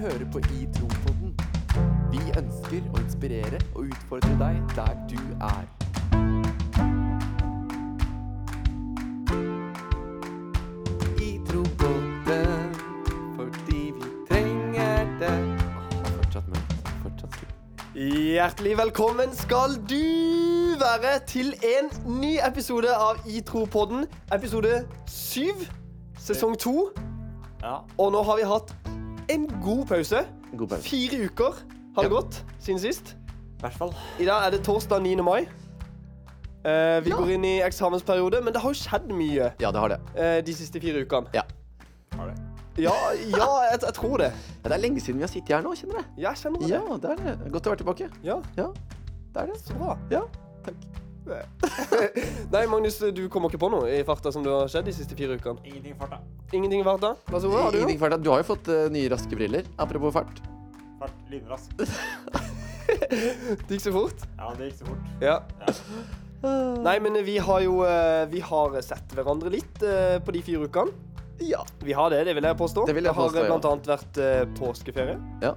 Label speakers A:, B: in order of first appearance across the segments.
A: hører på I Tro-podden. Vi ønsker å inspirere og utfordre deg der du er. I Tro-podden, fordi vi trenger det. Åh, fortsatt mørkt. Fortsatt skummelt.
B: Hjertelig velkommen skal du være til en ny episode av iTro-podden. Episode syv, sesong to.
A: Ja.
B: Og nå har vi hatt en god pause.
A: God pause.
B: Fire uker har det
A: Ja.
B: gått siden sist.
A: I hvert fall.
B: I dag er det torsdag 9. mai. Eh, vi
A: Ja.
B: går inn i eksamensperiode, men det har jo skjedd mye
A: Ja, det har det.
B: eh, de siste fire ukene.
A: Ja.
B: Ja, ja jeg, jeg tror det.
A: Ja, det er lenge siden vi har sittet her nå, kjenner jeg.
B: Jeg kjenner det.
A: Ja, det er det. Godt å være tilbake.
B: ja.
A: Ja, det er det.
B: Så bra.
A: Ja, takk.
B: Nei, Magnus, du kommer ikke på noe i farta som det har skjedd de siste fire ukene?
C: Ingenting for deg.
B: Ingenting i farta? Lasse, hva har du?
A: Ingenting fælt. Du har jo fått eh, nye raske briller. Apropos fart.
C: Fart lynrask.
B: Det gikk så fort.
C: Ja, det gikk så fort.
B: Ja.
C: Ja.
A: Ah.
B: Nei, men vi har jo eh, Vi har sett hverandre litt eh, på de fire ukene.
A: Ja.
B: Vi har det, det vil jeg påstå.
A: Det vil jeg påstå,
B: har eh,
A: ja.
B: blant annet vært eh, påskeferie.
A: Ja.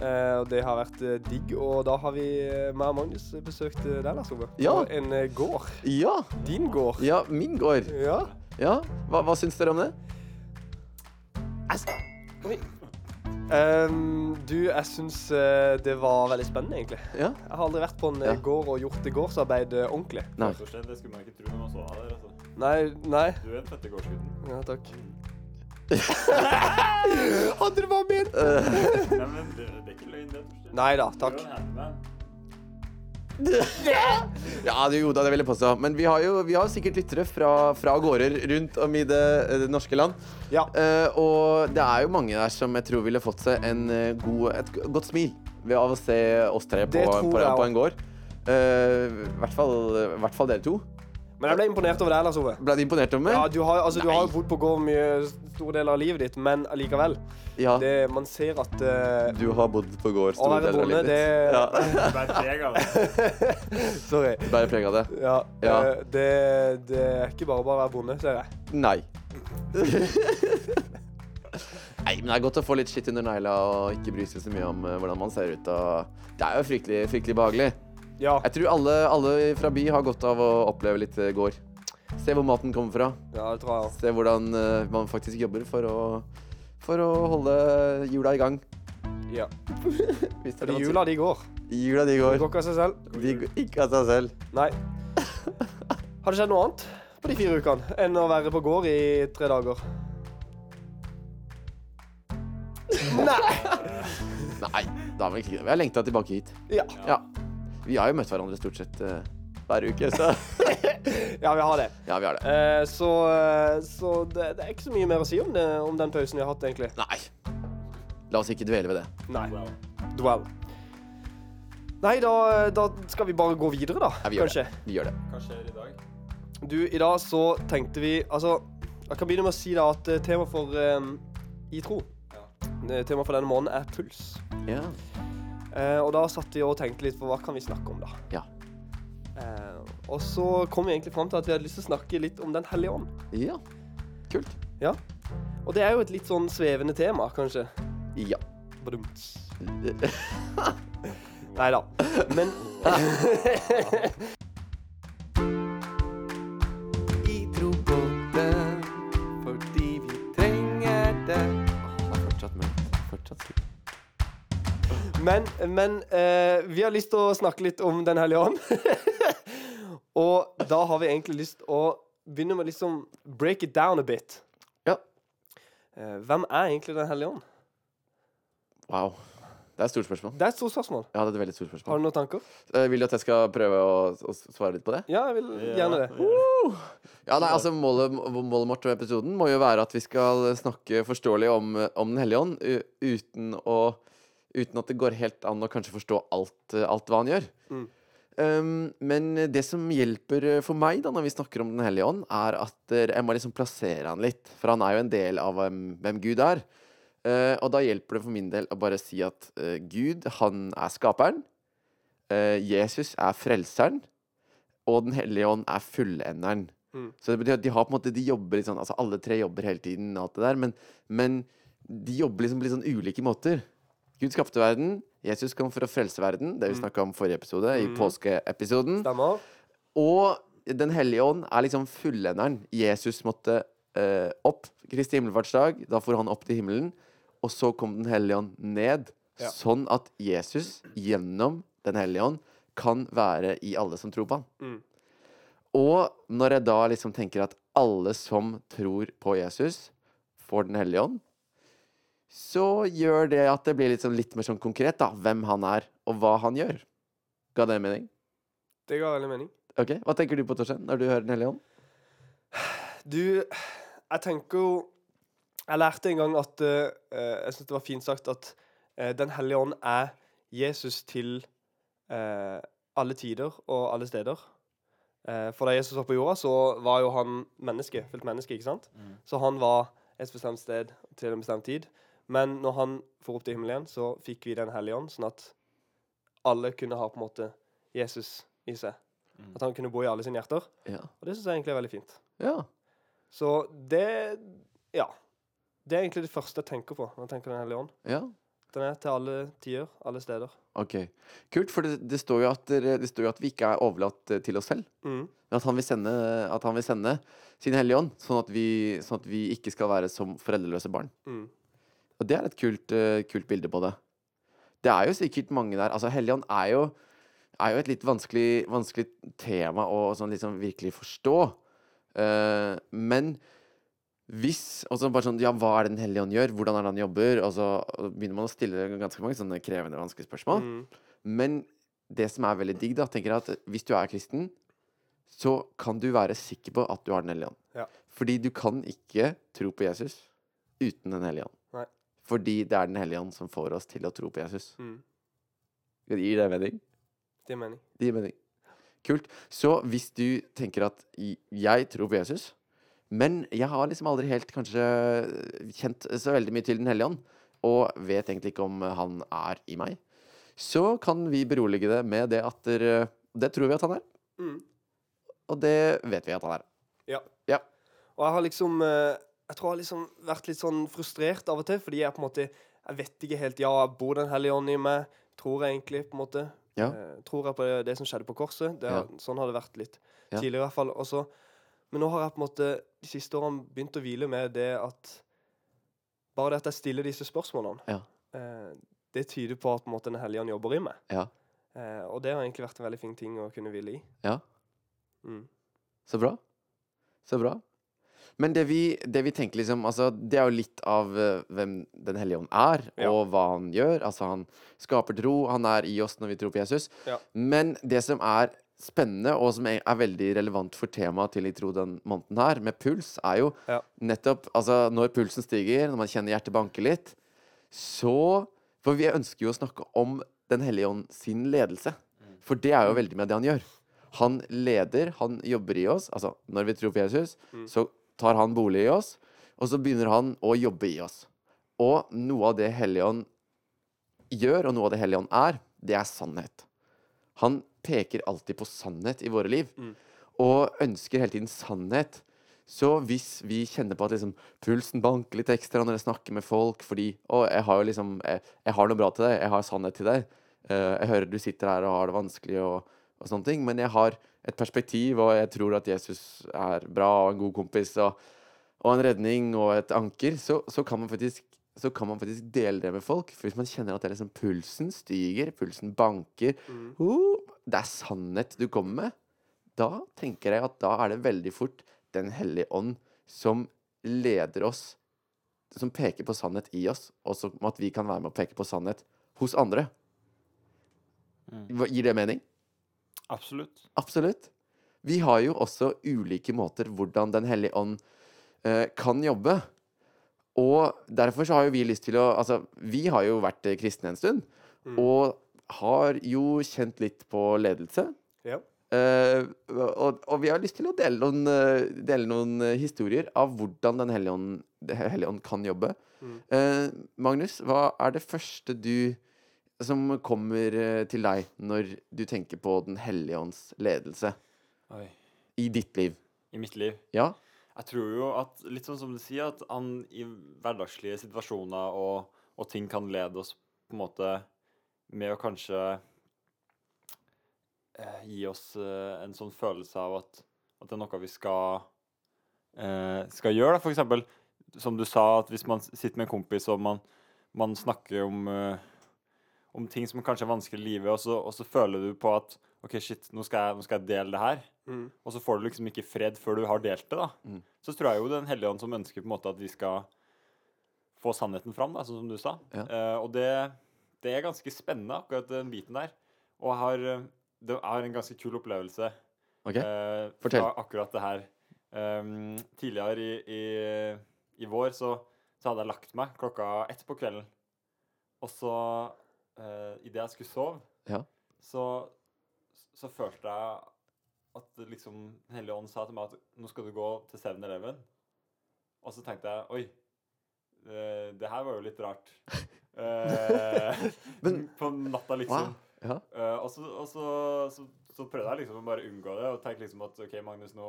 B: Eh, Og det har vært eh, digg, og da har vi eh, meg og Magnus besøkt eh, deg, Lars Ove.
A: Ja.
B: På en eh, gård.
A: Ja,
B: Din gård.
A: ja min gård.
B: Ja.
A: Ja, hva, hva syns dere om det? Altså,
B: Oi. Ehm, du, jeg syns eh, det var veldig spennende, egentlig.
A: Ja,
B: Jeg har aldri vært på en eh,
A: Ja.
B: gård og gjort det gårdsarbeid eh, ordentlig.
A: Nei.
C: Rett og slett, det skulle man ikke tro når man så deg der. altså.
B: Nei, nei.
C: Du er en fette gårdsgutten.
B: Ja, takk. Hadde det bare ment!
A: Eh,
C: Nei, men det, det er ikke løgn, det. Torstein.
B: Nei da,
C: Du
B: takk.
C: er en handyman.
A: ja det, jo da, det vil jeg påstå. Men vi har jo vi har sikkert lyttere fra, fra gårder rundt om i det, eh, det norske land.
B: Ja.
A: Eh, og det er jo mange der som jeg tror ville fått seg en eh, god, et g- godt smil ved av å se oss tre på,
B: Det tror
A: på, på,
B: jeg
A: en gård. Eh, I hvert fall, i hvert fall dere to.
B: Men jeg ble imponert over deg, Lars Ove.
A: Ble du imponert over
B: Ja,
A: meg?
B: du har, altså, du har
A: Nei.
B: jo bodd på gård mye store deler av livet ditt, men allikevel.
A: Ja.
B: Det, man ser at eh,
A: Du har bodd på gård
B: Å
A: store
B: være
A: deler av
B: bonde,
A: livet ditt. Ja.
B: det
C: Du bærer preg av det.
B: Sorry.
A: Bærer preg av det.
B: Ja.
A: Ja.
B: eh, Det, det er ikke bare bare å være bonde, ser jeg.
A: Nei. Nei, men det er godt å få litt skitt under negla og ikke bry seg så mye om eh, hvordan man ser ut. Og det er jo fryktelig, fryktelig behagelig.
B: Ja.
A: Jeg tror alle, alle fra by har godt av å oppleve litt eh, gård. Se hvor maten kommer fra.
B: ja, det tror jeg òg.
A: Se hvordan eh, man faktisk jobber for å, for å holde hjula i gang.
B: Ja.
A: Hvis det er
B: Fordi
A: det man
B: jula, de går.
A: sier. Hjula de
B: Det
A: går.
B: går ikke av seg selv.
A: De går ikke av seg selv.
B: Nei. Har det skjedd noe annet på de fire ukene enn å være på gård i tre dager? Nei!
A: Nei, da er vel ikke det. Vi har lengta tilbake hit.
B: Ja.
A: Ja. Vi har jo møtt hverandre stort sett eh, hver uke, så
B: ja, vi har det.
A: Ja, vi har det.
B: Eh, så eh, så det, det er ikke så mye mer å si om, det, om den pausen vi har hatt, egentlig.
A: Nei. La oss ikke dvele ved det.
B: Nei.
C: Wow.
B: Dwell. Nei, da, da skal vi bare gå videre, da.
A: Ja, vi gjør
B: kanskje.
A: det. Vi gjør det.
C: Hva skjer i dag?
B: Du, i dag så tenkte vi Altså, jeg kan begynne med å si da at eh, tema for eh, i tro
C: Ja.
B: eh, Tema for denne måneden er puls.
A: Ja.
B: Eh, og da satt vi og tenkte litt på hva kan vi snakke om, da.
A: Ja.
B: Eh, og så kom vi egentlig fram til at vi hadde lyst til å snakke litt om Den hellige ånd.
A: ja. Kult.
B: Og det er jo et litt sånn svevende tema, kanskje.
A: Ja.
B: Nei da. Men
A: I tro på den fordi vi trenger det. Det er fortsatt mørkt. Fortsatt skummelt.
B: Men, men eh, vi har lyst til å snakke litt om Den hellige ånd. og da har vi egentlig lyst å begynne med liksom break it down a bit.
A: Ja.
B: Eh, hvem er egentlig Den hellige ånd?
A: Wow. Det er et stort spørsmål.
B: Det er et stort spørsmål.
A: Ja, det er et veldig stort
B: Har
A: spørsmål.
B: du noen tanker?
A: Eh, vil du at jeg skal prøve å, å svare litt på det?
B: Ja, jeg vil gjerne det.
A: Ja, nei, altså Målet, målet vårt med episoden må jo være at vi skal snakke forståelig om, om Den hellige ånd u- uten, å, uten at det går helt an å kanskje forstå alt, eh, alt hva han gjør.
B: Mm.
A: Um, men det som hjelper eh, for meg da når vi snakker om Den hellige ånd, er at eh, jeg må liksom plassere han litt. For han er jo en del av hvem, hvem Gud er. Eh, og da hjelper det for min del å bare si at eh, Gud, han er skaperen. eh, Jesus er frelseren. Og Den hellige ånd er fullenderen.
B: Mm.
A: Så det betyr at de har på en måte De jobber litt sånn Altså alle tre jobber hele tiden og alt det der, men, men de jobber liksom på litt sånn ulike måter. Gud skapte verden. Jesus kom for å frelse verden. Det vi snakka om forrige episode, i påskeepisoden.
B: Stemmer.
A: Og Den hellige ånd er liksom fullenderen. Jesus måtte eh, opp Kristi himmelfartsdag. Da for han opp til himmelen. Og så kom Den hellige ånd ned.
B: Ja.
A: Sånn at Jesus gjennom Den hellige ånd kan være i alle som tror på han.
B: Mm.
A: Og når jeg da liksom tenker at alle som tror på Jesus, får Den hellige ånd, så gjør det at det blir litt sånn- litt mer sånn konkret, da. Hvem han er, og hva han gjør. Ga det mening?
B: Det ga veldig mening.
A: Ok, Hva tenker du på, Torstein, når du hører Den hellige ånd?
B: Du, jeg tenker jo Jeg lærte en gang at eh, eh, Jeg syns det var fint sagt at eh, Den hellige ånd er Jesus til eh, alle tider og alle steder. Eh, for da Jesus var på jorda, så var jo han menneske, fullt menneske, ikke sant? Så han var et bestemt sted til en bestemt tid. Men når han for opp til himmelen igjen, så fikk vi Den hellige ånd, sånn at alle kunne ha på en måte Jesus i seg.
C: Mm.
B: At han kunne bo i alle sine hjerter.
A: Ja.
B: Og det syns jeg egentlig er veldig fint.
A: ja.
B: Så det Ja. Det er egentlig det første jeg tenker på når jeg tenker Den hellige ånd.
A: Ja.
B: Den er til alle tider, alle steder.
A: Ok. Kult, for det, det, står jo at, dere- det står jo at vi ikke er overlatt eh, til oss selv.
B: Mm.
A: Men at han vil sende, at han vil sende sin hellige ånd, sånn at, vi, sånn at vi ikke skal være som foreldreløse barn.
B: Mm.
A: Og det er et kult, eh, kult bilde på det. Det er jo sikkert mange der Altså, Helligånd er jo, er jo et litt vanskelig, vanskelig tema å sånn, liksom virkelig forstå. Eh, men hvis Og så bare sånn Ja, hva er det Den hellige ånd gjør? Hvordan er det han jobber? Og så og begynner man å stille ganske mange sånne krevende, vanskelige spørsmål.
B: Mm.
A: Men det som er veldig digg, da, tenker jeg at hvis du er kristen, så kan du være sikker på at du har Den hellige ånd.
B: Ja.
A: Fordi du kan ikke tro på Jesus uten Den hellige ånd.
B: Nei.
A: Fordi det er Den hellige ånd som får oss til å tro på Jesus.
B: Mm.
A: Det gir det mening?
B: Det er mening.
A: Det gir mening. Kult. Så hvis du tenker at i- jeg tror på Jesus, men jeg har liksom aldri helt kanskje kjent så veldig mye til Den hellige ånd, og vet egentlig ikke om han er i meg, så kan vi berolige det med det at dere- det tror vi at han er,
B: Mm.
A: og det vet vi at han er.
B: Ja.
A: Ja.
B: Og jeg har liksom eh, Jeg tror jeg har liksom vært litt sånn frustrert av og til, fordi jeg på en måte Jeg vet ikke helt Ja, bor Den hellige ånd i meg? Tror jeg egentlig, på en måte.
A: Ja.
B: Eh, tror jeg på det, det som skjedde på korset. Det, har- Sånn har det vært litt
A: Ja.
B: tidligere, i hvert fall. Og så- men nå har jeg på en måte de siste årene begynt å hvile med det at Bare det at jeg stiller disse spørsmålene,
A: Ja.
B: eh, det tyder på at på en måte Den hellige ånd jobber i meg.
A: Ja.
B: Eh, og det har egentlig vært en veldig fin ting å kunne hvile i.
A: Ja.
B: Mm.
A: Så bra. Så bra. Men det vi, det vi tenker liksom altså, Det er jo litt av eh, hvem Den hellige ånd er,
B: Ja.
A: og hva han gjør. Altså, han skaper tro. Han er i oss når vi tror på Jesus.
B: Ja.
A: Men det som er spennende, og som er er veldig relevant for temaet til I tro den måneden her, med puls, er jo
B: Ja.
A: nettopp altså, når pulsen stiger, når man kjenner hjertet banke litt, så For vi ønsker jo å snakke om Den hellige ånd sin ledelse.
B: Mm.
A: For det er jo veldig med det han gjør. Han leder, han jobber i oss. Altså, når vi tror på Jesus, så tar han bolig i oss, og så begynner han å jobbe i oss. Og noe av det Hellige Ånd gjør, og noe av det Hellige Ånd er, det er sannhet. Han peker alltid på sannhet i våre liv, og ønsker hele tiden sannhet. Så hvis vi kjenner på at liksom, pulsen banker litt ekstra når jeg snakker med folk fordi Å, jeg har jo liksom jeg, jeg har noe bra til deg. Jeg har sannhet til deg. eh, jeg hører du sitter her og har det vanskelig og, og sånne ting, men jeg har et perspektiv, og jeg tror at Jesus er bra og en god kompis og, og en redning og et anker, så, så kan man faktisk så kan man faktisk dele det med folk. For hvis man kjenner at det er liksom pulsen stiger, pulsen banker «Ho!» Det er sannhet du kommer med da tenker jeg at da er det veldig fort Den hellige ånd som leder oss, som peker på sannhet i oss, og som at vi kan være med å peke på sannhet hos andre. Hva- Gir det mening?
C: Absolutt.
A: Absolutt. Vi har jo også ulike måter hvordan Den hellige ånd eh, kan jobbe. Og derfor så har jo vi lyst til å Altså, vi har jo vært eh, kristne en stund. Og har jo kjent litt på ledelse.
B: Ja.
A: Eh, og, og vi har lyst til å dele noen, eh, dele noen eh, historier av hvordan Den hellige ånd, Den hellige ånd kan jobbe. Eh, Magnus, hva er det første du som kommer eh, til deg når du tenker på Den hellige ånds ledelse
C: Oi.
A: i ditt liv?
C: I mitt liv.
A: Ja?
C: Jeg tror jo at, litt sånn som du sier, at han i hverdagslige situasjoner og, og ting kan lede oss på en måte Med å kanskje eh, gi oss eh, en sånn følelse av at, at det er noe vi skal eh, skal gjøre. Da. For eksempel, som du sa, at hvis man s- sitter med en kompis og man, man snakker om, eh, om ting som kanskje er vanskelig i livet, og så, og så føler du på at OK, shit, nå skal jeg, nå skal jeg dele det her.
B: Mm.
C: Og så får du liksom ikke fred før du har delt det, da.
A: Mm.
C: Så tror jeg jo Den hellige ånd som ønsker på en måte at vi skal få sannheten fram, da, sånn som du sa.
A: Ja.
C: Eh, og det, det er ganske spennende, akkurat den biten der. Og jeg har, eh, det er en ganske kul opplevelse
A: Ok?
C: eh,
A: Fortell.
C: fra akkurat det her. Ehm, tidligere i, i, i vår så, så hadde jeg lagt meg klokka ett på kvelden. Og så, eh, idet jeg skulle sove,
A: Ja.
C: så, så følte jeg at det liksom Den hellige ånd sa til meg at nå skal du gå til 7-Eleven. Og så tenkte jeg oi, eh, det her var jo litt rart. Eh,
A: Men-
C: på natta, liksom.
A: Wow. Ja.
C: Eh, og så, og så, så, så prøvde jeg liksom å bare unngå det og tenke liksom at OK, Magnus, nå,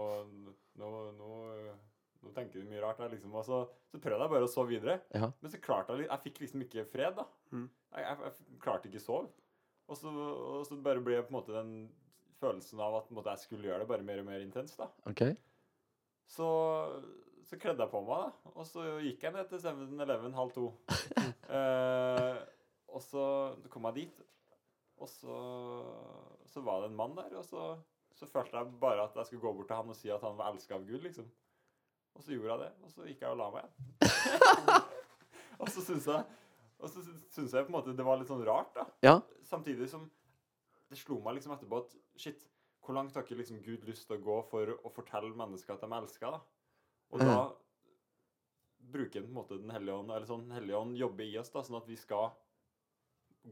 C: nå, nå, nå tenker du mye rart her, liksom. Og så, så prøvde jeg bare å sove videre.
A: Ja.
C: Men så klarte jeg li- Jeg fikk liksom ikke fred, da.
B: Mm.
C: Jeg, jeg, jeg klarte ikke å sove. Og så, og så bare ble på en måte den følelsen av at på en måte, jeg skulle gjøre det, bare mer og mer intens, da.
A: Ok.
C: Så, så kledde jeg på meg, da. Og så gikk jeg ned til 7-Eleven halv to. Eh, og så kom jeg dit, og så, så var det en mann der. Og så, så følte jeg bare at jeg skulle gå bort til han og si at han var elska av Gud, liksom. Og så gjorde jeg det, og så gikk jeg og la meg igjen. og så syns jeg og så syns- syns jeg på en måte det var litt sånn rart, da.
A: Ja.
C: Samtidig som det slo meg liksom etterpå at shit, hvor langt har ikke liksom Gud lyst til å gå for å fortelle mennesker at de elsker, da? Og
A: Mm.
C: da bruker han på en måte Den hellige ånd, eller sånn Den hellige ånd jobber i oss, da, sånn at vi skal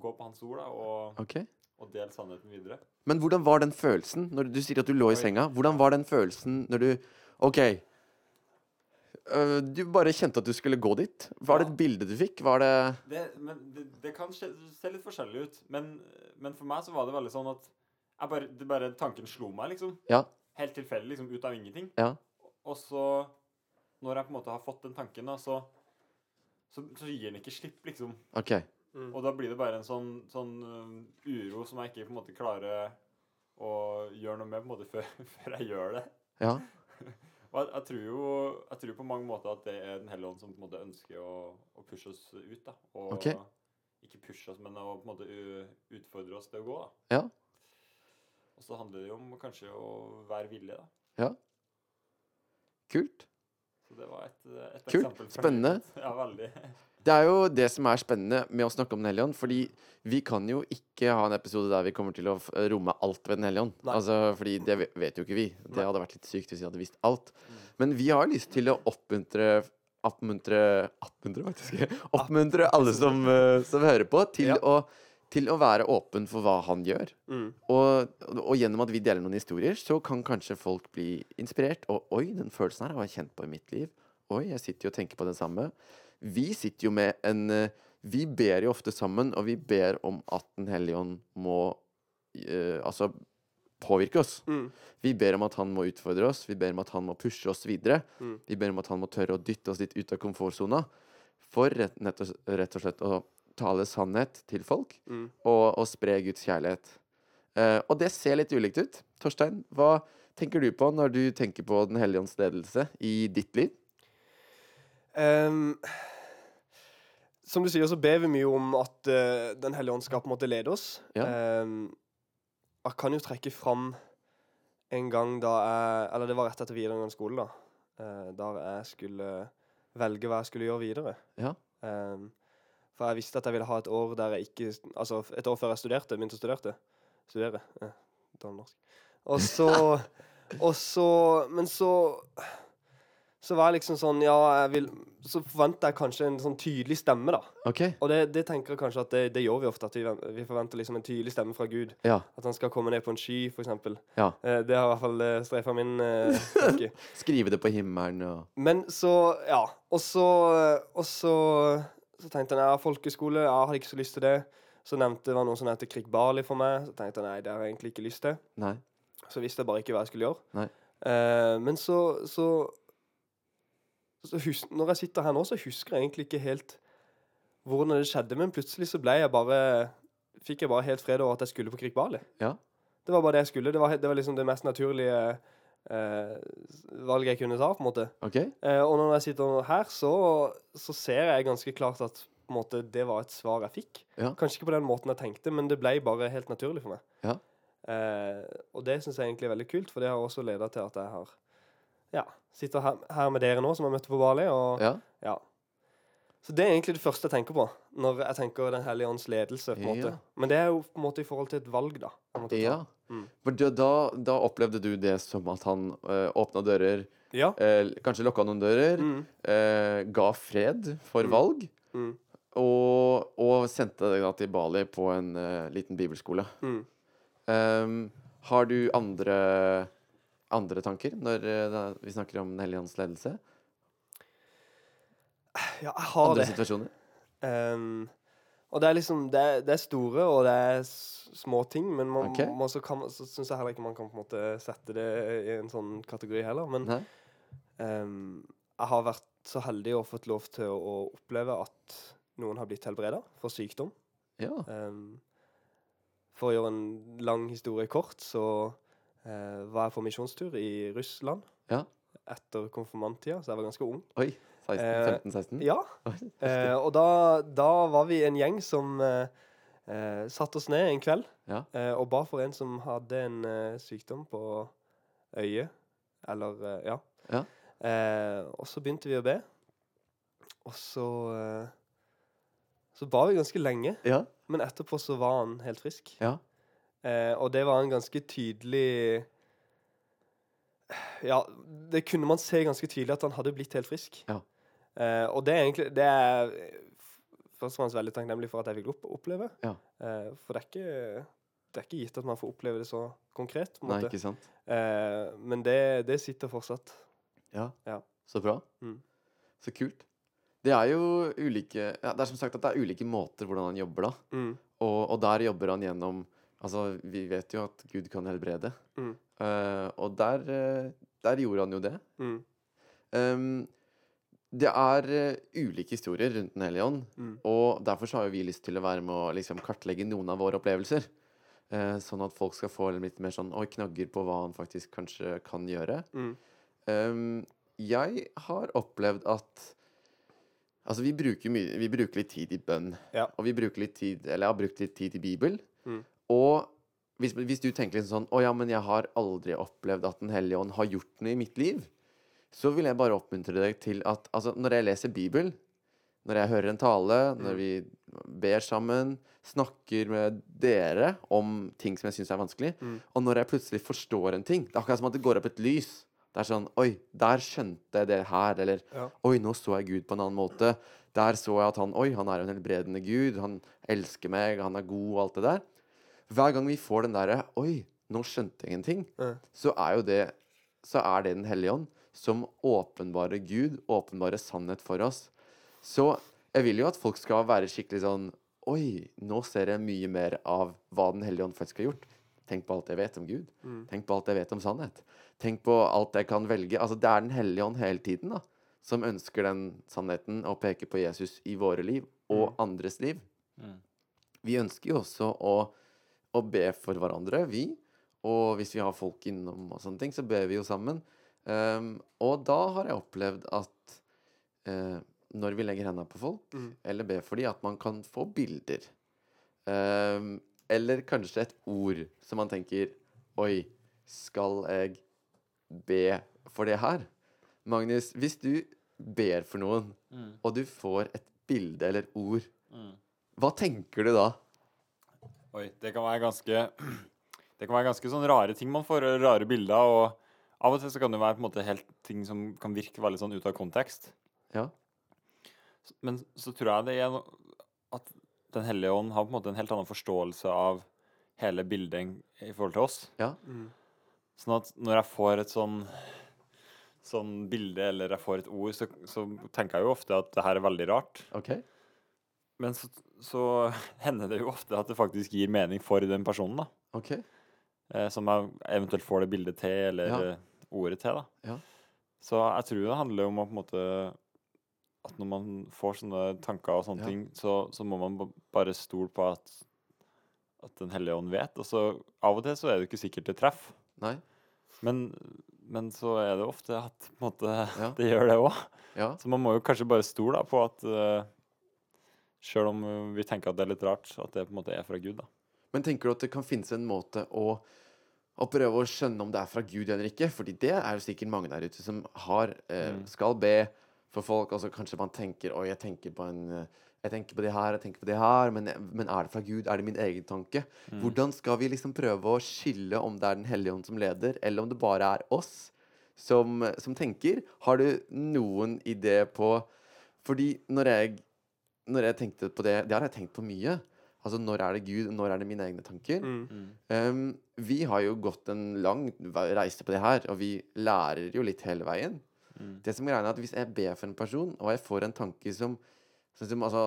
C: gå på hans ord da, og,
A: ok.
C: og dele sannheten videre.
A: Men hvordan var den følelsen når du sier at du lå
C: Oi.
A: i senga? Hvordan var den følelsen når du OK. øh, Du bare kjente at du skulle gå dit. Var det et bilde du fikk? Var det
C: Det, men det, det kan se, se litt forskjellig ut, men, men for meg så var det veldig sånn at jeg bare, det bare tanken slo meg, liksom.
A: Ja.
C: Helt tilfeldig, liksom, ut av ingenting.
A: Ja.
C: Og så, når jeg på en måte har fått den tanken, da, så, så, så gir den ikke slipp, liksom.
A: OK.
B: Mm.
C: Og da blir det bare en sånn, sånn um, uro som jeg ikke på en måte klarer å gjøre noe med på en måte før, før jeg gjør det.
A: Ja.
C: Og jeg, jeg tror jo jeg tror på mange måter at det er Den hellige ånd som på en måte ønsker å, å pushe oss ut. da. Og
A: Ok.
C: ikke pushe oss, men å på en måte u- utfordre oss til å gå. da.
A: Ja.
C: Og så handler det jo om kanskje å være villig, da.
A: Kult.
C: Så det var et, et
A: Kult.
C: eksempel. fra
A: Spennende.
C: livet. Ja, veldig.
A: Det er jo det som er spennende med å snakke om Den hellige ånd. Fordi vi kan jo ikke ha en episode der vi kommer til å f- romme alt ved Den hellige ånd.
B: Nei.
A: Altså, fordi det ve- vet jo ikke vi. Det
B: Nei. Mm.
A: hadde vært litt sykt hvis vi hadde visst alt. Men vi har lyst til å oppmuntre Oppmuntre Oppmuntre, faktisk. Oppmuntre alle som, eh, som hører på, til,
B: Ja.
A: å, til å være åpen for hva han gjør.
B: Mm.
A: Og, og gjennom at vi deler noen historier, så kan kanskje folk bli inspirert. Og oi, den følelsen her har jeg kjent på i mitt liv. Oi, jeg sitter jo og tenker på den samme. Vi sitter jo med en eh, Vi ber jo ofte sammen, og vi ber om at Den hellige ånd må eh, Altså påvirke oss.
B: Mm.
A: Vi ber om at han må utfordre oss, vi ber om at han må pushe oss videre.
B: Mm.
A: Vi ber om at han må tørre å dytte oss litt ut av komfortsona for rett, nett og, s- rett og slett å tale sannhet til folk
B: Mm.
A: og, og spre Guds kjærlighet. Eh, og det ser litt ulikt ut. Torstein, hva tenker du på når du tenker på Den hellige ånds ledelse i ditt liv?
B: Ehm, som du sier, så ber vi mye om at eh, Den hellige ånd skal på en måte lede oss.
A: Ja.
B: Ehm, jeg kan jo trekke fram en gang da jeg Eller det var rett etter videregående skole, da. eh, der jeg skulle velge hva jeg skulle gjøre videre.
A: Ja.
B: Ehm, for jeg visste at jeg ville ha et år der jeg ikke Altså et år før jeg studerte, begynte å studerte. Studere. eh, dårlig norsk. Og så Og så Men så så var jeg liksom sånn Ja, jeg vil Så forventer jeg kanskje en sånn tydelig stemme, da.
A: OK.
B: Og det, det tenker jeg kanskje at det, det gjør vi ofte, at vi, ven- vi forventer liksom en tydelig stemme fra Gud.
A: Ja.
B: At han skal komme ned på en sky, for eksempel.
A: Ja.
B: Eh, det har i hvert fall eh, strefa min eh, tanke.
A: Skrive det på himmelen og
B: Men så, ja. Og så, og så, så tenkte jeg nei, folkeskole, ja, jeg hadde ikke så lyst til det. Så nevnte det var noen som het Krik Bali for meg. Så tenkte jeg nei, det har jeg egentlig ikke lyst til.
A: Nei.
B: Så visste jeg bare ikke hva jeg skulle gjøre.
A: Nei.
B: Eh, men så, så, så hus Når jeg sitter her nå, så husker jeg egentlig ikke helt hvordan det skjedde, men plutselig så ble jeg bare Fikk jeg bare helt fred over at jeg skulle på Krig Bali.
A: Ja.
B: Det var bare det jeg skulle. Det var, he- det var liksom det mest naturlige eh, valget jeg kunne ta, på en måte.
A: OK?
B: Eh, og når jeg sitter her, så, så ser jeg ganske klart at på en måte, det var et svar jeg fikk.
A: Ja.
B: Kanskje ikke på den måten jeg tenkte, men det ble bare helt naturlig for meg.
A: Ja.
B: Eh, og det syns jeg egentlig er veldig kult, for det har også leda til at jeg har ja, sitter her, her med dere nå, som jeg møtte på Bali. Og,
A: Ja.
B: ja. Så det er egentlig det første jeg tenker på når jeg tenker Den hellige ånds ledelse. på en
A: Ja.
B: måte. Men det er jo på en måte i forhold til et valg, da. jeg måtte ta.
A: ja.
B: Mm.
A: For da, da- da opplevde du det som at han uh, åpna dører,
B: ja.
A: eh, kanskje lukka noen dører,
B: Mm.
A: eh, ga fred for
B: Mm.
A: valg,
B: Mm.
A: og, og sendte deg da til Bali på en eh, liten bibelskole.
B: Mm.
A: Ehm, har du andre, andre tanker når eh, da- vi snakker om Den hellige ånds ledelse?
B: ja, jeg har
A: Andre
B: det.
A: situasjoner?
B: Ehm, og det er liksom det er, det er store og det er s- små ting, men man,
A: Ok.
B: man så, kan, så syns jeg heller ikke man kan på en måte sette det i en sånn kategori heller. Men
A: Nei?
B: ehm, jeg har vært så heldig og fått lov til å, å oppleve at noen har blitt helbreda for sykdom.
A: Ja.
B: Ehm, for å gjøre en lang historie kort, så eh, var jeg på misjonstur i Russland
A: Ja.
B: etter konfirmanttida, så jeg var ganske ung.
A: Oi. 16,
B: Eh,
A: 15-16?
B: Ja,
A: Oi.
B: Eh, og da, da var vi en gjeng som eh, eh, satte oss ned en kveld
A: Ja.
B: eh, og ba for en som hadde en eh, sykdom på øyet. Eller eh, ja.
A: Ja.
B: Eh, og så begynte vi å be. Og så eh, Så ba vi ganske lenge,
A: Ja.
B: men etterpå så var han helt frisk.
A: Ja.
B: Eh, og det var en ganske tydelig Ja, det kunne man se ganske tydelig at han hadde blitt helt frisk.
A: Ja.
B: Eh, og det er egentlig Det er eh, f- først og fremst veldig takknemlig for at jeg fikk opp- oppleve.
A: Ja.
B: Eh, for det er ikke det er ikke gitt at man får oppleve det så konkret. på en
A: Nei,
B: måte.
A: ikke sant?
B: Eh, men det, det sitter fortsatt.
A: Ja.
B: Ja.
A: Så bra.
B: Mm.
A: Så kult. Det er jo ulike ja, Det er som sagt at det er ulike måter hvordan han jobber, da.
B: Mm,
A: Og, og der jobber han gjennom Altså, vi vet jo at Gud kan helbrede.
B: Mm.
A: Eh, og der, eh, der gjorde han jo det.
B: mm,
A: Ehm, det er eh, ulike historier rundt Den hellige ånd,
B: mm,
A: og derfor så har jo vi lyst til å være med og liksom kartlegge noen av våre opplevelser. eh, sånn at folk skal få en litt mer sånn Oi, knagger på hva han faktisk kanskje kan gjøre.
B: mm,
A: Ehm, jeg har opplevd at Altså, vi bruker, mye, vi bruker litt tid i bønn.
B: Ja.
A: Og vi bruker litt tid Eller jeg har brukt litt tid i Bibel.
B: Mm.
A: Og hvis, hvis du tenker litt sånn Å ja, men jeg har aldri opplevd at Den hellige ånd har gjort noe i mitt liv. Så vil jeg bare oppmuntre deg til at Altså, når jeg leser Bibel, når jeg hører en tale, når
B: Mm.
A: vi ber sammen, snakker med dere om ting som jeg syns er vanskelig,
B: Mm.
A: og når jeg plutselig forstår en ting Det er akkurat som at det går opp et lys. Det er sånn Oi, der skjønte jeg det her. Eller
B: Ja.
A: Oi, nå så jeg Gud på en annen måte. Der så jeg at han Oi, han er jo en helbredende Gud. Han elsker meg. Han er god, og alt det der. Hver gang vi får den derre Oi, nå skjønte jeg en ting,
B: Ja.
A: så er jo det Så er det Den hellige ånd som åpenbarer Gud, åpenbarer sannhet for oss. Så jeg vil jo at folk skal være skikkelig sånn Oi, nå ser jeg mye mer av hva Den hellige ånd faktisk har gjort. Tenk på alt jeg vet om Gud.
B: Mm.
A: Tenk på alt jeg vet om sannhet. Tenk på alt jeg kan velge. Altså, det er Den hellige ånd hele tiden, da. Som ønsker den sannheten og peker på Jesus i våre liv og andres liv.
C: Mm.
A: Vi ønsker jo også å, å be for hverandre, vi. Og hvis vi har folk innom og sånne ting, så ber vi jo sammen. Ehm, og da har jeg opplevd at eh, når vi legger hendene på folk,
B: Mm.
A: eller ber for dem, at man kan få bilder. Ehm, eller kanskje et ord som man tenker Oi, skal jeg be for det her? Magnus, hvis du ber for noen,
C: Mm.
A: og du får et bilde eller ord,
C: Mm.
A: hva tenker du da?
C: Oi, det kan være ganske Det kan være ganske sånn rare ting man får, og rare bilder, og av og til så kan det være på en måte helt ting som kan virke veldig sånn ut av kontekst.
A: Ja.
C: S- Men så tror jeg det er no- at Den hellige ånd har på en måte en helt annen forståelse av hele bildet enn- i forhold til oss.
B: mm,
C: Sånn at når jeg får et sånn sånn bilde eller jeg får et ord, så, så tenker jeg jo ofte at det her er veldig rart.
A: OK?
C: Men så, så hender det jo ofte at det faktisk gir mening for den personen, da.
A: Ok,
C: eh, som jeg eventuelt får det bildet til, eller
A: Ja.
C: eh, ordet til. da.
A: Ja.
C: Så jeg tror det handler om å på en måte at når man får sånne tanker og sånne
A: Ja.
C: ting, så, så må man ba- bare stole på at, at Den hellige ånd vet. Og så av og til så er det jo ikke sikkert det treffer.
A: Nei?
C: Men, men så er det ofte at på en måte,
A: Ja.
C: det gjør det òg.
A: Ja.
C: Så man må jo kanskje bare stole da, på at uh, Sjøl om eh, vi tenker at det er litt rart, at det på en måte er fra Gud. da.
A: Men tenker du at det kan finnes en måte å, å prøve å skjønne om det er fra Gud eller ikke? Fordi det er jo sikkert mange der ute som har, eh,
C: Mm.
A: skal be for folk, og så kanskje man tenker Oi, jeg tenker på en eh, jeg tenker på det her, jeg tenker på det her, men, men er det fra Gud? Er det min egen tanke? Hvordan skal vi liksom prøve å skille om det er Den hellige ånd som leder, eller om det bare er oss som, som tenker? Har du noen idé på Fordi når jeg, når jeg tenkte på det Det har jeg tenkt på mye. Altså, når er det Gud, når er det mine egne tanker?
B: Mm.
A: Ehm, vi har jo gått en lang ve- reise på det her, og vi lærer jo litt hele veien.
C: Mm.
A: Det som er greia er at Hvis jeg ber for en person, og jeg får en tanke som, sånn som altså,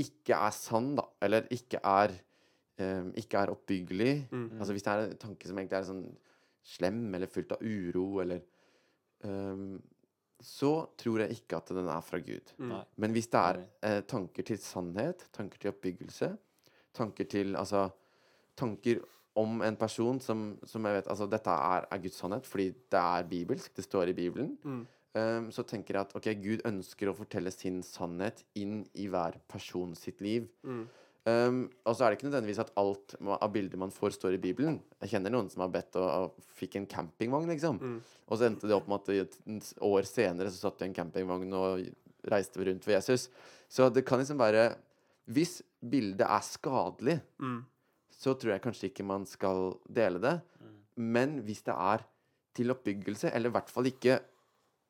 A: ikke er sann, da, eller ikke er, ehm, ikke er oppbyggelig
B: Mm.
A: Altså Hvis det er en tanke som egentlig er sånn slem eller fylt av uro, eller ehm, Så tror jeg ikke at den er fra Gud.
B: Mm.
C: Nei.
A: Men hvis det er
C: Enig.
A: eh, tanker til sannhet, tanker til oppbyggelse, tanker til Altså tanker om en person som, som jeg vet Altså, dette er, er Guds sannhet fordi det er bibelsk, det står i Bibelen.
B: Mm.
A: Ehm, så tenker jeg at ok, Gud ønsker å fortelle sin sannhet inn i hver person sitt liv.
B: Mm.
A: Ehm, og så er det ikke nødvendigvis at alt ma- av bilder man får, står i Bibelen. Jeg kjenner noen som har bedt og, og fikk en campingvogn, liksom.
B: Mm.
A: Og så endte det opp med at i et et år senere så satt de i en campingvogn og reiste rundt for Jesus. Så det kan liksom være Hvis bildet er skadelig,
B: Mm.
A: så tror jeg kanskje ikke man skal dele det.
B: Mm.
A: Men hvis det er til oppbyggelse, eller i hvert fall ikke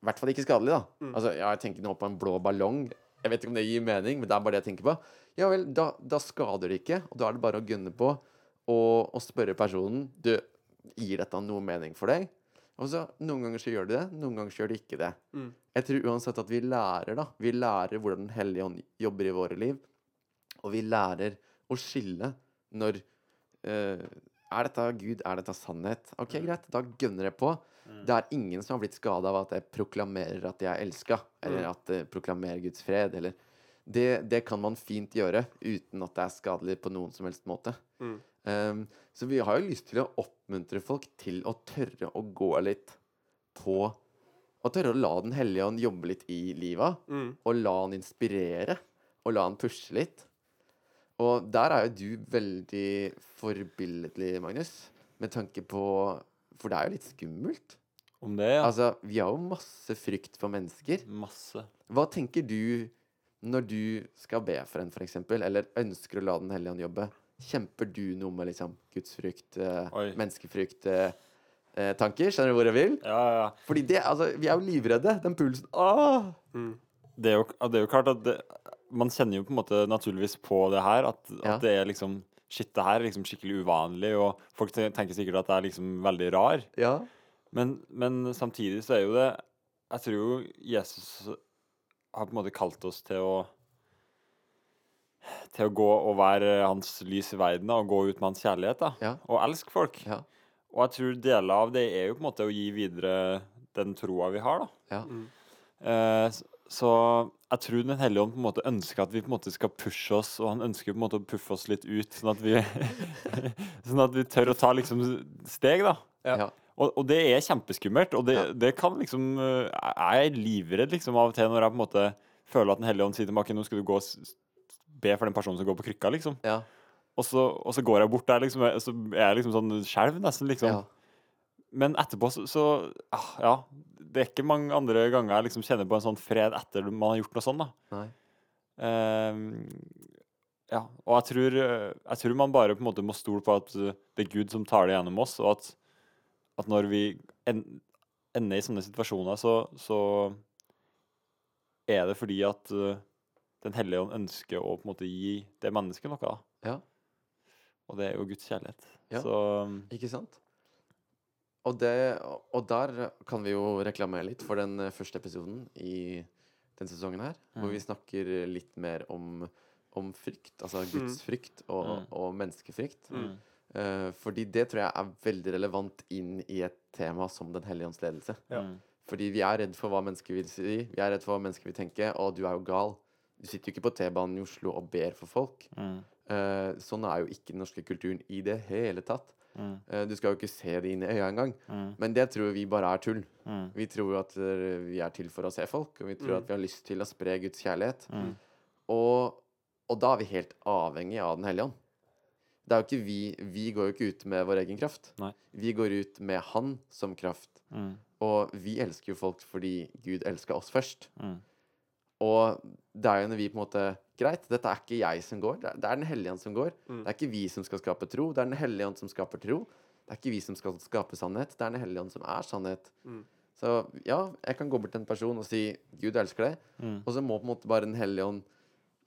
A: i hvert fall ikke skadelig, da. Altså, ja, jeg tenker nå på en blå ballong. Jeg vet ikke om det gir mening, men det er bare det jeg tenker på. Ja vel, da, da skader det ikke, og da er det bare å gunne på og, og spørre personen Du, gir dette noe mening for deg? Og så, Noen ganger så gjør det det, noen ganger så gjør det ikke det.
B: Mm.
A: Jeg tror uansett at vi lærer, da. Vi lærer hvordan Den hellige ånd jobber i våre liv. Og vi lærer å skille når eh, Er dette Gud? Er dette sannhet? OK, greit, da gønner jeg på. Det er ingen som har blitt skada av at jeg proklamerer at jeg er elska, eller at jeg proklamerer Guds fred, eller det, det kan man fint gjøre uten at det er skadelig på noen som helst måte.
B: Mm.
A: Um, så vi har jo lyst til å oppmuntre folk til å tørre å gå litt på Å tørre å la Den hellige ånd jobbe litt i livet,
B: Mm.
A: og la han inspirere, og la han pushe litt. Og der er jo du veldig forbilledlig, Magnus, med tanke på For det er jo litt skummelt.
C: Om det, ja.
A: Altså, vi har jo masse frykt for mennesker.
C: Masse.
A: Hva tenker du når du skal be for en, for eksempel, eller ønsker å la Den hellige ånd jobbe? Kjemper du noe med liksom gudsfrykt, eh,
C: Oi.
A: menneskefrykt, eh, eh, tanker? Skjønner du hvor jeg vil?
C: Ja, ja, ja.
A: Fordi det, altså, vi er jo livredde. Den pulsen Åh!
B: Mm.
C: det er jo, ja, det er jo klart at det, man kjenner jo på en måte naturligvis på det her, at,
A: Ja.
C: at det er liksom Shit, det her er liksom skikkelig uvanlig, og folk te- tenker sikkert at jeg er liksom veldig rar.
A: Ja.
C: Men, men samtidig så er jo det Jeg tror jo Jesus har på en måte kalt oss til å til å gå og være hans lys i verden da, og gå ut med hans kjærlighet da,
A: Ja.
C: og elske folk.
A: Ja.
C: Og jeg tror deler av det er jo på en måte å gi videre den troa vi har. da.
A: Ja.
B: Mm.
C: Eh, s- så jeg tror Den hellige ånd på en måte ønsker at vi på en måte skal pushe oss, og han ønsker på en måte å puffe oss litt ut, sånn at vi, sånn at vi tør å ta liksom steg, da.
B: Ja.
A: Ja.
C: Og, og det er kjempeskummelt, og det,
A: Ja.
C: det kan liksom eh, Jeg er livredd liksom av og til når jeg på en måte føler at Den hellige ånd sier til meg «Ok, nå skal du gå og s- s- be for den personen som går på krykka, liksom.
A: Ja.
C: Og så, og så går jeg bort der, liksom, og så er jeg liksom sånn skjelv, nesten, liksom.
A: ja.
C: Men etterpå så, så ah, Ja. Det er ikke mange andre ganger jeg liksom kjenner på en sånn fred etter man har gjort noe sånn, da.
A: Nei.
C: Ehm, ja. Og jeg tror, eh, jeg tror man bare på en måte må stole på at eh, det er Gud som tar det gjennom oss, og at, at når vi en, ender i sånne situasjoner, så, så er det fordi at eh, Den hellige ånd ønsker å på en måte gi det mennesket noe. da.
A: Ja.
C: Og det er jo Guds kjærlighet.
A: Ja.
C: Så mm.
A: Ikke sant? Og, det, og der kan vi jo reklamere litt for den eh, første episoden i denne sesongen her,
C: Mm.
A: hvor vi snakker litt mer om, om frykt, altså Guds frykt og,
C: Mm.
A: og menneskefrykt.
C: mm.
A: Eh, fordi det tror jeg er veldig relevant inn i et tema som Den hellige ånds ledelse.
B: Ja.
C: Mm.
A: Fordi vi er redd for hva mennesker vil si, vi er redd for hva mennesker vil tenke. Å, du er jo gal. Du sitter jo ikke på T-banen i Oslo og ber for folk.
C: Mm.
A: Eh, sånn er jo ikke den norske kulturen i det hele tatt.
C: Mm.
A: Eh, du skal jo ikke se det inn i øya engang.
C: Mm.
A: Men det tror vi bare er tull.
C: Mm.
A: Vi tror jo at eh, vi er til for å se folk, og vi tror
B: Mm.
A: at vi har lyst til å spre Guds kjærlighet.
C: Mm.
A: Og, og da er vi helt avhengig av Den hellige ånd. Det er jo ikke vi, vi går jo ikke ut med vår egen kraft.
C: Nei.
A: Vi går ut med Han som kraft.
C: Mm.
A: Og vi elsker jo folk fordi Gud elska oss først.
C: Mm.
A: Og det er jo når vi på en måte Greit, dette er ikke jeg som går, det er, det er Den hellige ånd som går.
B: Mm.
A: Det er ikke vi som skal skape tro, det er Den hellige ånd som skaper tro. Det er ikke vi som skal skape sannhet, det er Den hellige ånd som er sannhet.
B: Mm.
A: Så ja, jeg kan gå bort til en person og si 'Gud elsker deg',
C: Mm.
A: og så må på en måte bare Den hellige ånd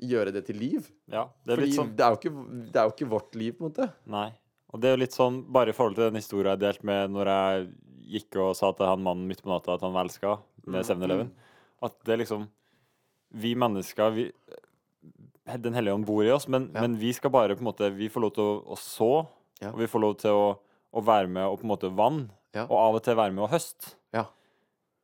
A: gjøre det til liv.
C: Ja, det er
A: Fordi
C: litt sånn
A: det, er jo ikke, det er jo ikke vårt liv, på en måte.
C: Nei. Og det er jo litt sånn, bare i forhold til den historien jeg delte med når jeg gikk og sa til han mannen midt på natta at han var elska med 7-Eleven, at det er liksom Vi mennesker vi, Den hellige ånd bor i oss, men,
A: Ja.
C: men vi skal bare på en måte Vi får lov til å, å så,
A: Ja.
C: og vi får lov til å, å være med og på en måte vanne,
A: Ja.
C: og av og til være med og høste.
A: Ja.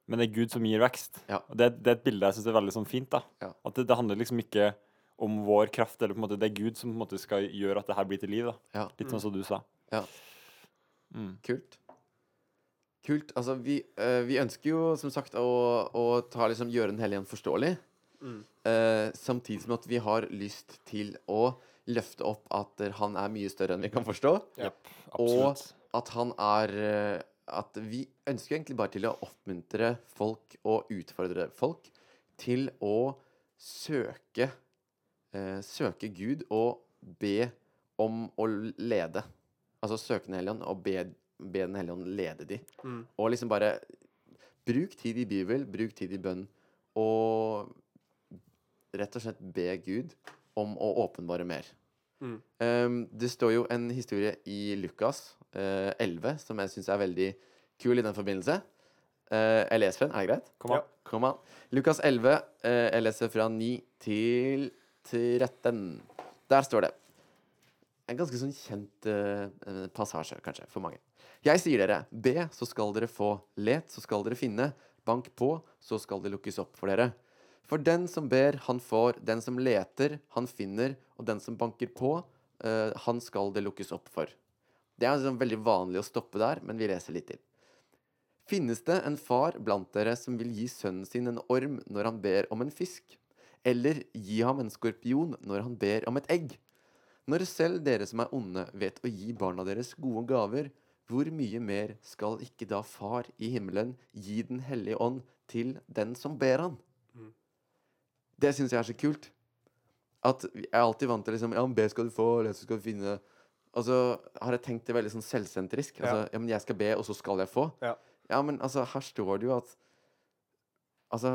C: Men det er Gud som gir vekst.
A: Ja.
C: Og det, det er et bilde jeg syns er veldig sånn fint. da.
A: Ja.
C: At det, det handler liksom ikke om vår kraft, eller på en måte, det er Gud som på en måte skal gjøre at det her blir til liv. da.
A: Ja,
C: Litt sånn som du sa.
A: Ja.
C: Mm.
A: kult. Kult. Altså, vi, eh, vi ønsker jo som sagt å, å ta, liksom, gjøre Den hellige ånd forståelig.
B: Mm.
A: Eh, samtidig som at vi har lyst til å løfte opp at eh, han er mye større enn vi kan forstå.
C: Absolutt.
A: At han er eh, At vi ønsker egentlig bare til å oppmuntre folk og utfordre folk til å søke eh, Søke Gud og be om å lede. Altså søke Den hellige ånd og be, be Den hellige ånd lede de.
B: Mm.
A: Og liksom bare Bruk tid i bibel, bruk tid i bønn, og rett og slett be Gud om å åpenbare mer.
B: Mm.
A: Um, det står jo en historie i Lukas eh, 11 som jeg syns er veldig kul i den forbindelse. Eh, jeg leser den, er det greit?
C: Kom an.
A: Kom an. Lukas 11, eh, jeg leser fra 9 til 13. Der står det. En ganske sånn kjent eh, passasje, kanskje, for mange. Jeg sier dere, be, så skal dere få. Let, så skal dere finne. Bank på, så skal det lukkes opp for dere. For den som ber, han får. Den som leter, han finner. Og den som banker på, eh, han skal det lukkes opp for. Det er sånn veldig vanlig å stoppe der, men vi leser litt til. Finnes det en far blant dere som vil gi sønnen sin en orm når han ber om en fisk? Eller gi ham en skorpion når han ber om et egg? Når selv dere som er onde vet å gi barna deres gode gaver, hvor mye mer skal ikke da Far i himmelen gi Den hellige ånd til den som ber han?
B: Mm.
A: Det syns jeg er så kult. At jeg er alltid vant til liksom Ja, men be skal du få, les skal du finne Og så har jeg tenkt det veldig sånn selvsentrisk. Altså, ja, men jeg skal be, og så skal jeg få.
B: Ja.
A: Ja, men altså, her står det jo at Altså,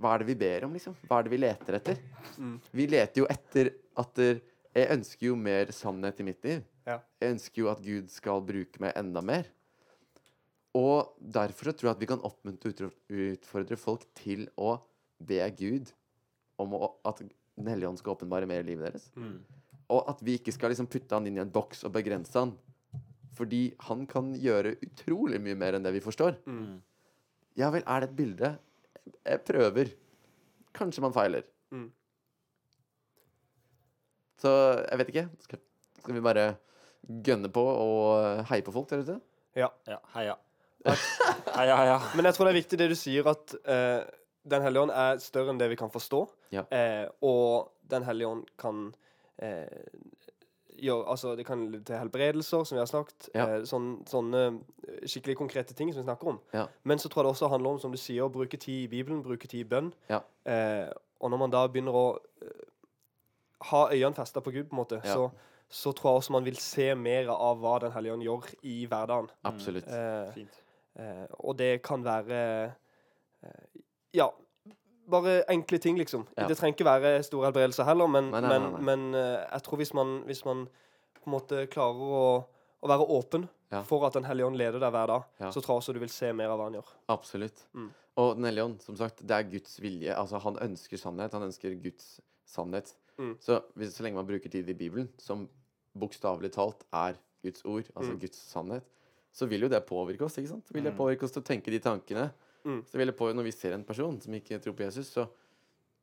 A: hva er det vi ber om, liksom? Hva er det vi leter etter?
B: Mm.
A: Vi leter jo etter at der, Jeg ønsker jo mer sannhet i mitt liv.
B: Ja.
A: Jeg ønsker jo at Gud skal bruke meg enda mer. Og derfor så tror jeg at vi kan oppmuntre og utro- utfordre folk til å be Gud om å, at Den hellige ånd skal åpenbare mer i livet deres.
C: Mm.
A: Og at vi ikke skal liksom putte han inn i en boks og begrense han. Fordi han kan gjøre utrolig mye mer enn det vi forstår.
B: Mm.
A: Ja vel, er det et bilde? Jeg prøver. Kanskje man feiler.
B: Mm.
A: Så jeg vet ikke. Skal, skal vi bare gønne på og heie på folk der ute?
B: Ja.
C: Ja, heia. heia, heia.
B: Men jeg tror det er viktig det du sier, at eh, Den hellige ånd er større enn det vi kan forstå.
A: Ja.
B: Eh, og Den hellige ånd kan eh, gjøre Altså, det kan lede til helbredelser, som vi har snakket.
A: Ja.
B: Eh, sånn, sånne eh, skikkelig konkrete ting som vi snakker om.
A: Ja.
B: Men så tror jeg det også handler om, som du sier, å bruke tid i Bibelen, bruke tid i bønn.
A: Ja.
B: Eh, og når man da begynner å eh, ha øynene festa på Gud, på en måte,
A: Ja.
B: så, så tror jeg også man vil se mer av hva Den hellige ånd gjør i hverdagen.
A: Absolutt.
B: Eh,
C: Fint.
B: Eh, og det kan være eh, Ja, bare enkle ting, liksom.
A: Ja.
B: Det trenger ikke være store helbredelser heller, men,
A: Nei, nei, nei,
B: men, men eh, jeg tror hvis man, hvis man på en måte klarer å, å være åpen
A: Ja.
B: for at Den hellige ånd leder deg hver dag,
A: Ja.
B: så tror jeg også du vil se mer av hva han gjør.
A: Absolutt.
B: Mm.
A: Og Den hellige ånd, som sagt, det er Guds vilje. Altså, han ønsker sannhet. Han ønsker Guds sannhet.
B: Mm.
A: Så hvis, så lenge man bruker tid i Bibelen, som bokstavelig talt er Guds ord, altså
B: Mm.
A: Guds sannhet, så vil jo det påvirke oss, ikke sant? Vil det
C: Mm.
A: påvirke oss til å tenke de tankene?
B: Mm.
A: Så det ville på når vi ser en person som ikke tror på Jesus, så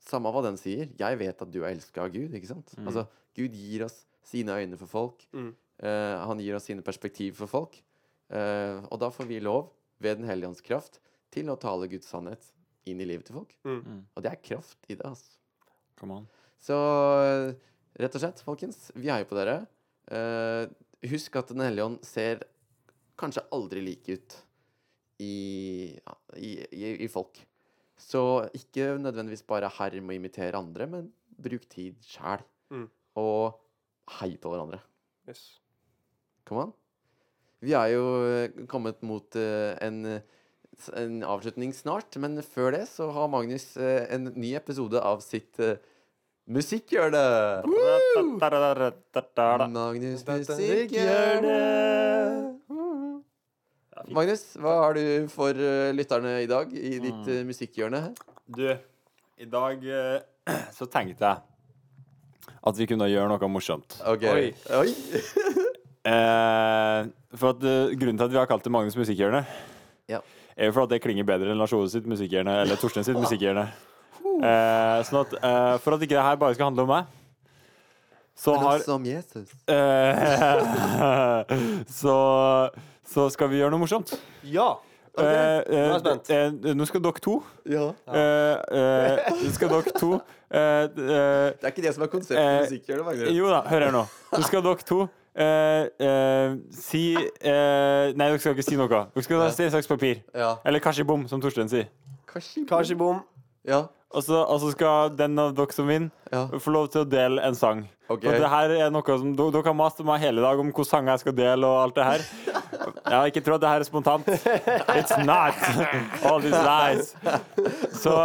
A: samme hva den sier, jeg vet at du er elska av Gud, ikke sant?
C: Mm.
A: Altså, Gud gir oss sine øyne for folk.
B: Mm.
A: Eh, han gir oss sine perspektiv for folk. Eh, og da får vi lov, ved Den hellige ånds kraft, til å tale Guds sannhet inn i livet til folk.
C: Mm.
A: Og det er kraft i det, altså.
C: Come on.
A: Så eh, rett og slett, folkens, vi heier på dere. Eh, husk at Den hellige ånd ser kanskje aldri like ut i, ja, i, i, i folk. Så ikke nødvendigvis bare herm og imitere andre, men bruk tid sjæl.
B: Mm.
A: Og hei på hverandre.
B: Yes.
A: Kom an. Vi er jo eh, kommet mot eh, en, eh, s- en avslutning snart, men før det så har Magnus eh, en ny episode av sitt eh, musikkhjørne. Magnus musikkhjørne.
C: Ja, fint.
A: Magnus, hva har du for eh, lytterne i dag i
C: Mm.
A: ditt eh, musikkhjørne?
C: Du, i dag eh, så tenkte jeg at vi kunne gjøre noe morsomt.
A: Ok.
B: Oi.
A: Oi.
C: Eh, for at eh, Grunnen til at vi har kalt det Magnus Musikkhjørne,
A: Ja.
C: er jo for at det klinger bedre enn Lars Ove sitt musikkhjørne eller Torstein sitt musikkhjørne. Eh, sånn at eh, For at ikke det her bare skal handle om meg, så
A: Men
B: altså-
C: har
A: Som Jesus.
C: eh, så, så skal vi gjøre noe morsomt.
B: Ja!
C: Eh, eh,
B: nå er jeg spent.
C: eh, nå skal dere to
A: Ja.
C: eh, eh, Nå skal dere to eh, eh,
A: Det er ikke det som er konseptet
C: Eh,
A: i musikkhjørnet, Magnus.
C: Jo da, hør her nå. Så skal dere to eh, eh, si eh, Nei, dere skal ikke si noe. Dere skal ta stein, saks, papir.
A: Ja.
C: Eller kanskje bom, som Torstein sier.
A: Kanskje.
B: Kanskje bom.
A: Ja.
C: Og så og så skal den av dere som vinner,
A: Ja.
C: få lov til å dele en sang.
A: Ok.
C: Og det her er noe som Dere dere har mast meg hele dag om hvilke sanger jeg skal dele, og alt det her. Jeg har ikke trodd det her er spontant. It's not. All these lies. Så,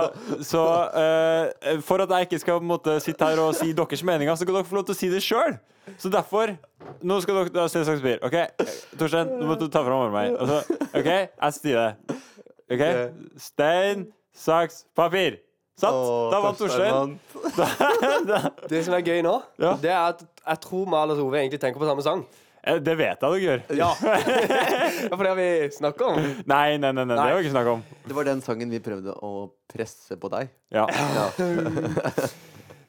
C: så eh, for at jeg ikke skal på en måte, sitte her og si deres meninger, så kan dere få lov til å si det sjøl. Så derfor Nå skal dere da, stein, saks, papir. OK, Torstein, nå må du ta fram armen. Altså, OK, jeg styrer. OK? Stein, saks, papir. Sant?
A: Å,
C: da vant Torstein.
A: vant.
B: Det som er gøy nå,
C: Ja.
B: det er at jeg tror vi og Lars Ove egentlig tenker på samme sang.
C: Eh, Det vet jeg dere gjør.
B: Ja. ja, for det har vi snakka om.
C: Nei, nei, nei, nei, det
B: Nei.
C: har vi ikke snakk om.
A: Det var den sangen vi prøvde å presse på deg.
C: Ja.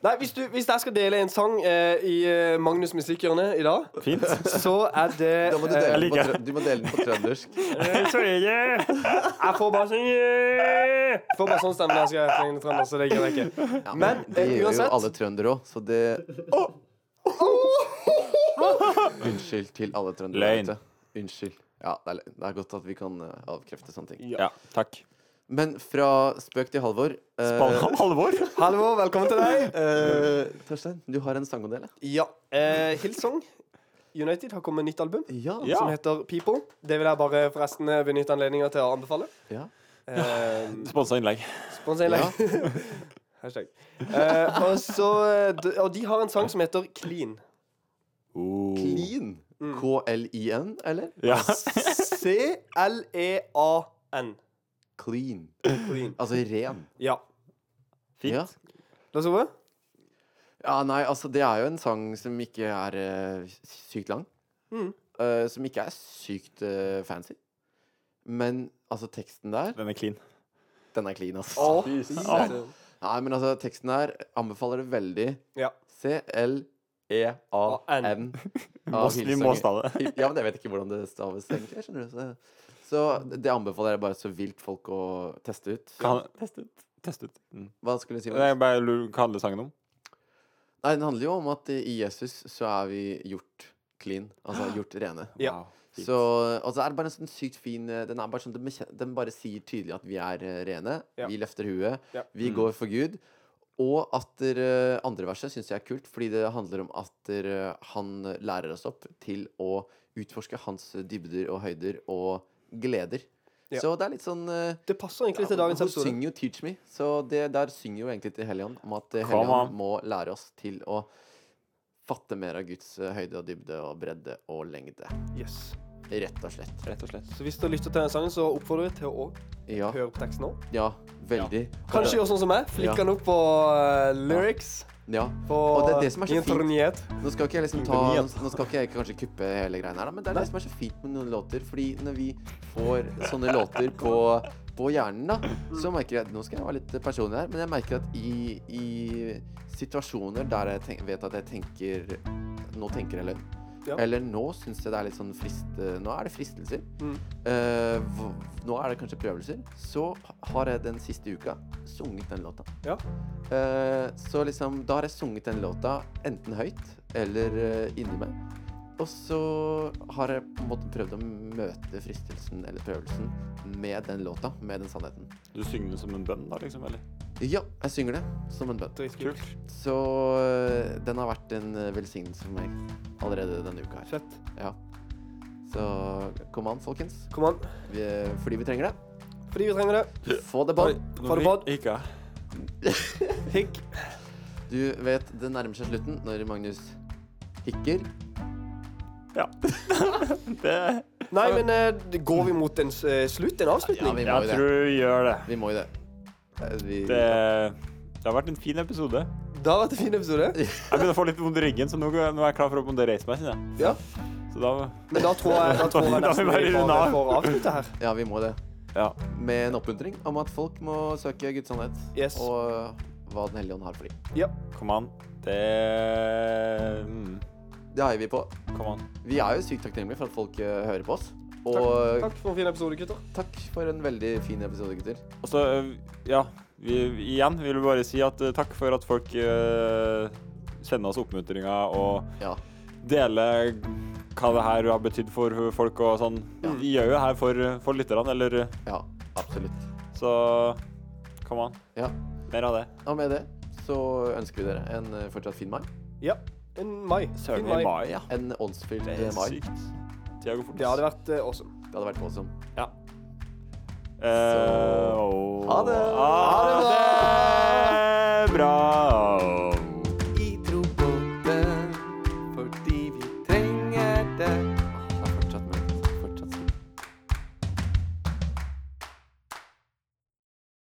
B: Nei, hvis, du, hvis jeg skal dele en sang eh, i eh, Magnus Musikkhjørne i dag,
C: Fint.
B: så er det
A: Da må du
B: eh,
A: dele, den, på
C: liker.
A: trø- du må dele den på trøndersk.
B: Jeg får bare sånn Jeg får bare sånn stemme når jeg skal trenge trønder, så det gjør jeg ikke.
A: Ja,
B: Men,
A: det
B: eh,
A: gjør jo
B: uansett-
A: alle trøndere òg, så det Unnskyld til alle trøndere. der
C: Løgn.
A: ute. Unnskyld. Ja, det er, løgn. det er godt at vi kan eh, avkrefte sånne ting.
C: Ja, takk.
A: Men fra spøk til Halvor. eh,
C: Ball- Alvor?
B: Hallo, velkommen til deg.
A: eh, Torstein, du har en sang å dele?
B: Ja. Eh, Hillsong United har kommet med nytt album
A: Ja.
C: Ja.
B: som heter People. Det vil jeg bare forresten eh, benytte anledninga til å anbefale.
A: ja.
B: Eh,
C: Sponsa innlegg.
B: Spons innlegg. Hashtag. Eh, og, så, eh, d- og de har en sang som heter Clean.
A: Clean. K-l-i-n, eller?
C: Oh. Ja.
B: C-L-E-A-N.
A: Clean.
B: E Clean.
A: Altså ren.
B: Ja.
C: Fint.
A: Ja.
B: Lars Ove?
A: Ja, nei, altså det er jo en sang som ikke er eh, sykt lang.
B: Mm.
A: Eh, som ikke er sykt eh, fancy. Men altså, teksten der,
C: Den er clean.
A: den er clean, ass.
B: Å,
A: Åh. Nei, men altså, teksten der anbefaler det veldig. E
B: Ja.
A: C-L-E-A-N.
C: Må- vi må stave det.
A: Ja, men jeg vet ikke hvordan det staves egentlig, skjønner du. Så, så det anbefaler jeg bare så vilt folk å teste ut.
C: Kan- Test ut. Test ut. Mm.
A: Hva skulle du si?
C: Jeg
A: Magnus?
C: bare lurer hva handler sangen om.
A: Nei, den handler jo om at i Jesus så er vi gjort clean. Altså gjort rene.
B: Ja.
C: Wow, fint.
A: Så, og så er det bare en sånn sykt fin eh, Den, er bare sånn, den, bekjen- den bare sier tydelig at vi er eh, rene.
B: Ja.
A: Vi løfter huet.
B: Ja.
A: Vi
C: Mm.
A: går for Gud. Og at der, eh, andre verset syns jeg er kult, fordi det handler om at der, eh, han lærer oss opp til å utforske hans dybder og høyder og gleder.
B: Ja.
A: Så det er litt sånn eh,
B: Det passer egentlig til
A: ja,
B: dagens
A: hun
B: episode.
A: synger jo 'Teach Me', så det der synger jo egentlig til Helligånd om at eh,
C: Come
A: Helligånd
C: on.
A: må lære oss til å fatte mer av Guds eh, høyde og dybde og bredde og lengde.
B: Yes.
A: Rett og slett.
C: Rett og slett.
B: Så hvis du lytter til den sangen, så oppfordrer vi til å
A: Ja.
B: høre på teksten nå.
A: Ja, veldig.
B: Kanskje gjør sånn som meg.
A: Ja.
B: Flikke den opp på eh, lyrics.
A: Ja.
B: På
A: Og det er det som er så fint.
B: internet.
A: Nå skal ikke jeg liksom ta
C: Ingeniør.
A: Nå
B: altså.
A: nå skal ikke jeg kanskje kuppe hele greia her, da, men det er det som er så fint med noen låter. Fordi når vi får sånne låter på på hjernen, da, så merker jeg at Nå skal jeg være litt personlig her, men jeg merker at i, i situasjoner der jeg tenk, vet at jeg tenker Nå tenker jeg løgn.
B: Ja.
A: Eller nå syns jeg det er litt sånn frist... Nå er det fristelser.
B: Mm.
A: Eh, hvor- nå er det kanskje prøvelser. Så har jeg den siste uka sunget den låta.
B: Ja.
A: Eh, så liksom, da har jeg sunget den låta enten høyt eller eh, inni meg. Og så har jeg på en måte prøvd å møte fristelsen eller prøvelsen med den låta, med den sannheten.
C: Du synger det som en bønn, da, liksom? Eller?
A: Ja, jeg synger det som en bønn.
B: Dritkult.
A: Så eh, den har vært en eh, velsignelse for meg allerede denne uka her.
B: Fett.
A: Ja. Så kom an, folkens.
B: Kom an.
A: Vi, eh, fordi vi trenger det.
B: Fordi vi trenger det.
A: Få det bånd.
B: Får du bad?
C: Ikke.
B: Hikk.
A: Du vet det nærmer seg slutten når Magnus hikker.
C: Ja. det
B: Nei, men eh, går vi mot en eh, slutt? En avslutning?
A: Ja, vi må
C: Jeg
A: jo det.
C: tror vi gjør det.
A: Vi må jo det. Eh, Vi,
C: det. Det har vært en fin episode.
B: Det har vært en fin episode.
C: Jeg begynner å få litt vondt i ryggen, så nå, nå er jeg klar for å reise meg. Synes jeg.
B: Ja.
C: Så da
B: Men da tror jeg, da tror jeg
C: Da må vi
B: nesten
C: bare
B: vi
C: runde
B: bare
C: av.
B: får avslutte her.
A: Ja, vi må det.
C: Ja.
A: Med en oppmuntring om at folk må søke Guds sannhet.
B: Yes.
A: Og hva Den hellige ånd har for dem.
B: Ja.
C: Kom an. Det mm,
A: Det heier vi på.
C: Kom an.
A: Vi er jo sykt takknemlige for at folk eh, hører på oss. Og
B: Takk, takk for en fin episode, gutter.
A: Takk for en veldig fin episode, gutter.
C: Og så, øh, ja vi, Igjen vil vi bare si at øh, takk for at folk øh, sender oss oppmuntringer og
A: Ja.
C: deler hva det her har betydd for folk og sånn. Vi gjør jo det her for, for lytterne, eller øh,
A: Ja, absolutt.
C: Så kom an.
A: Ja.
C: Mer av det.
A: Og med det så ønsker vi dere en eh, fortsatt fin mai.
B: Ja. En mai. Fin
C: Søren i mai, ja.
A: En åndsfylt
C: Det
A: eh,
C: er
A: mai.
C: sykt. Tida går fort.
B: Det hadde vært eh, awesome.
A: Det hadde vært awesome.
C: Eh, og-
A: Ha det!
C: Ha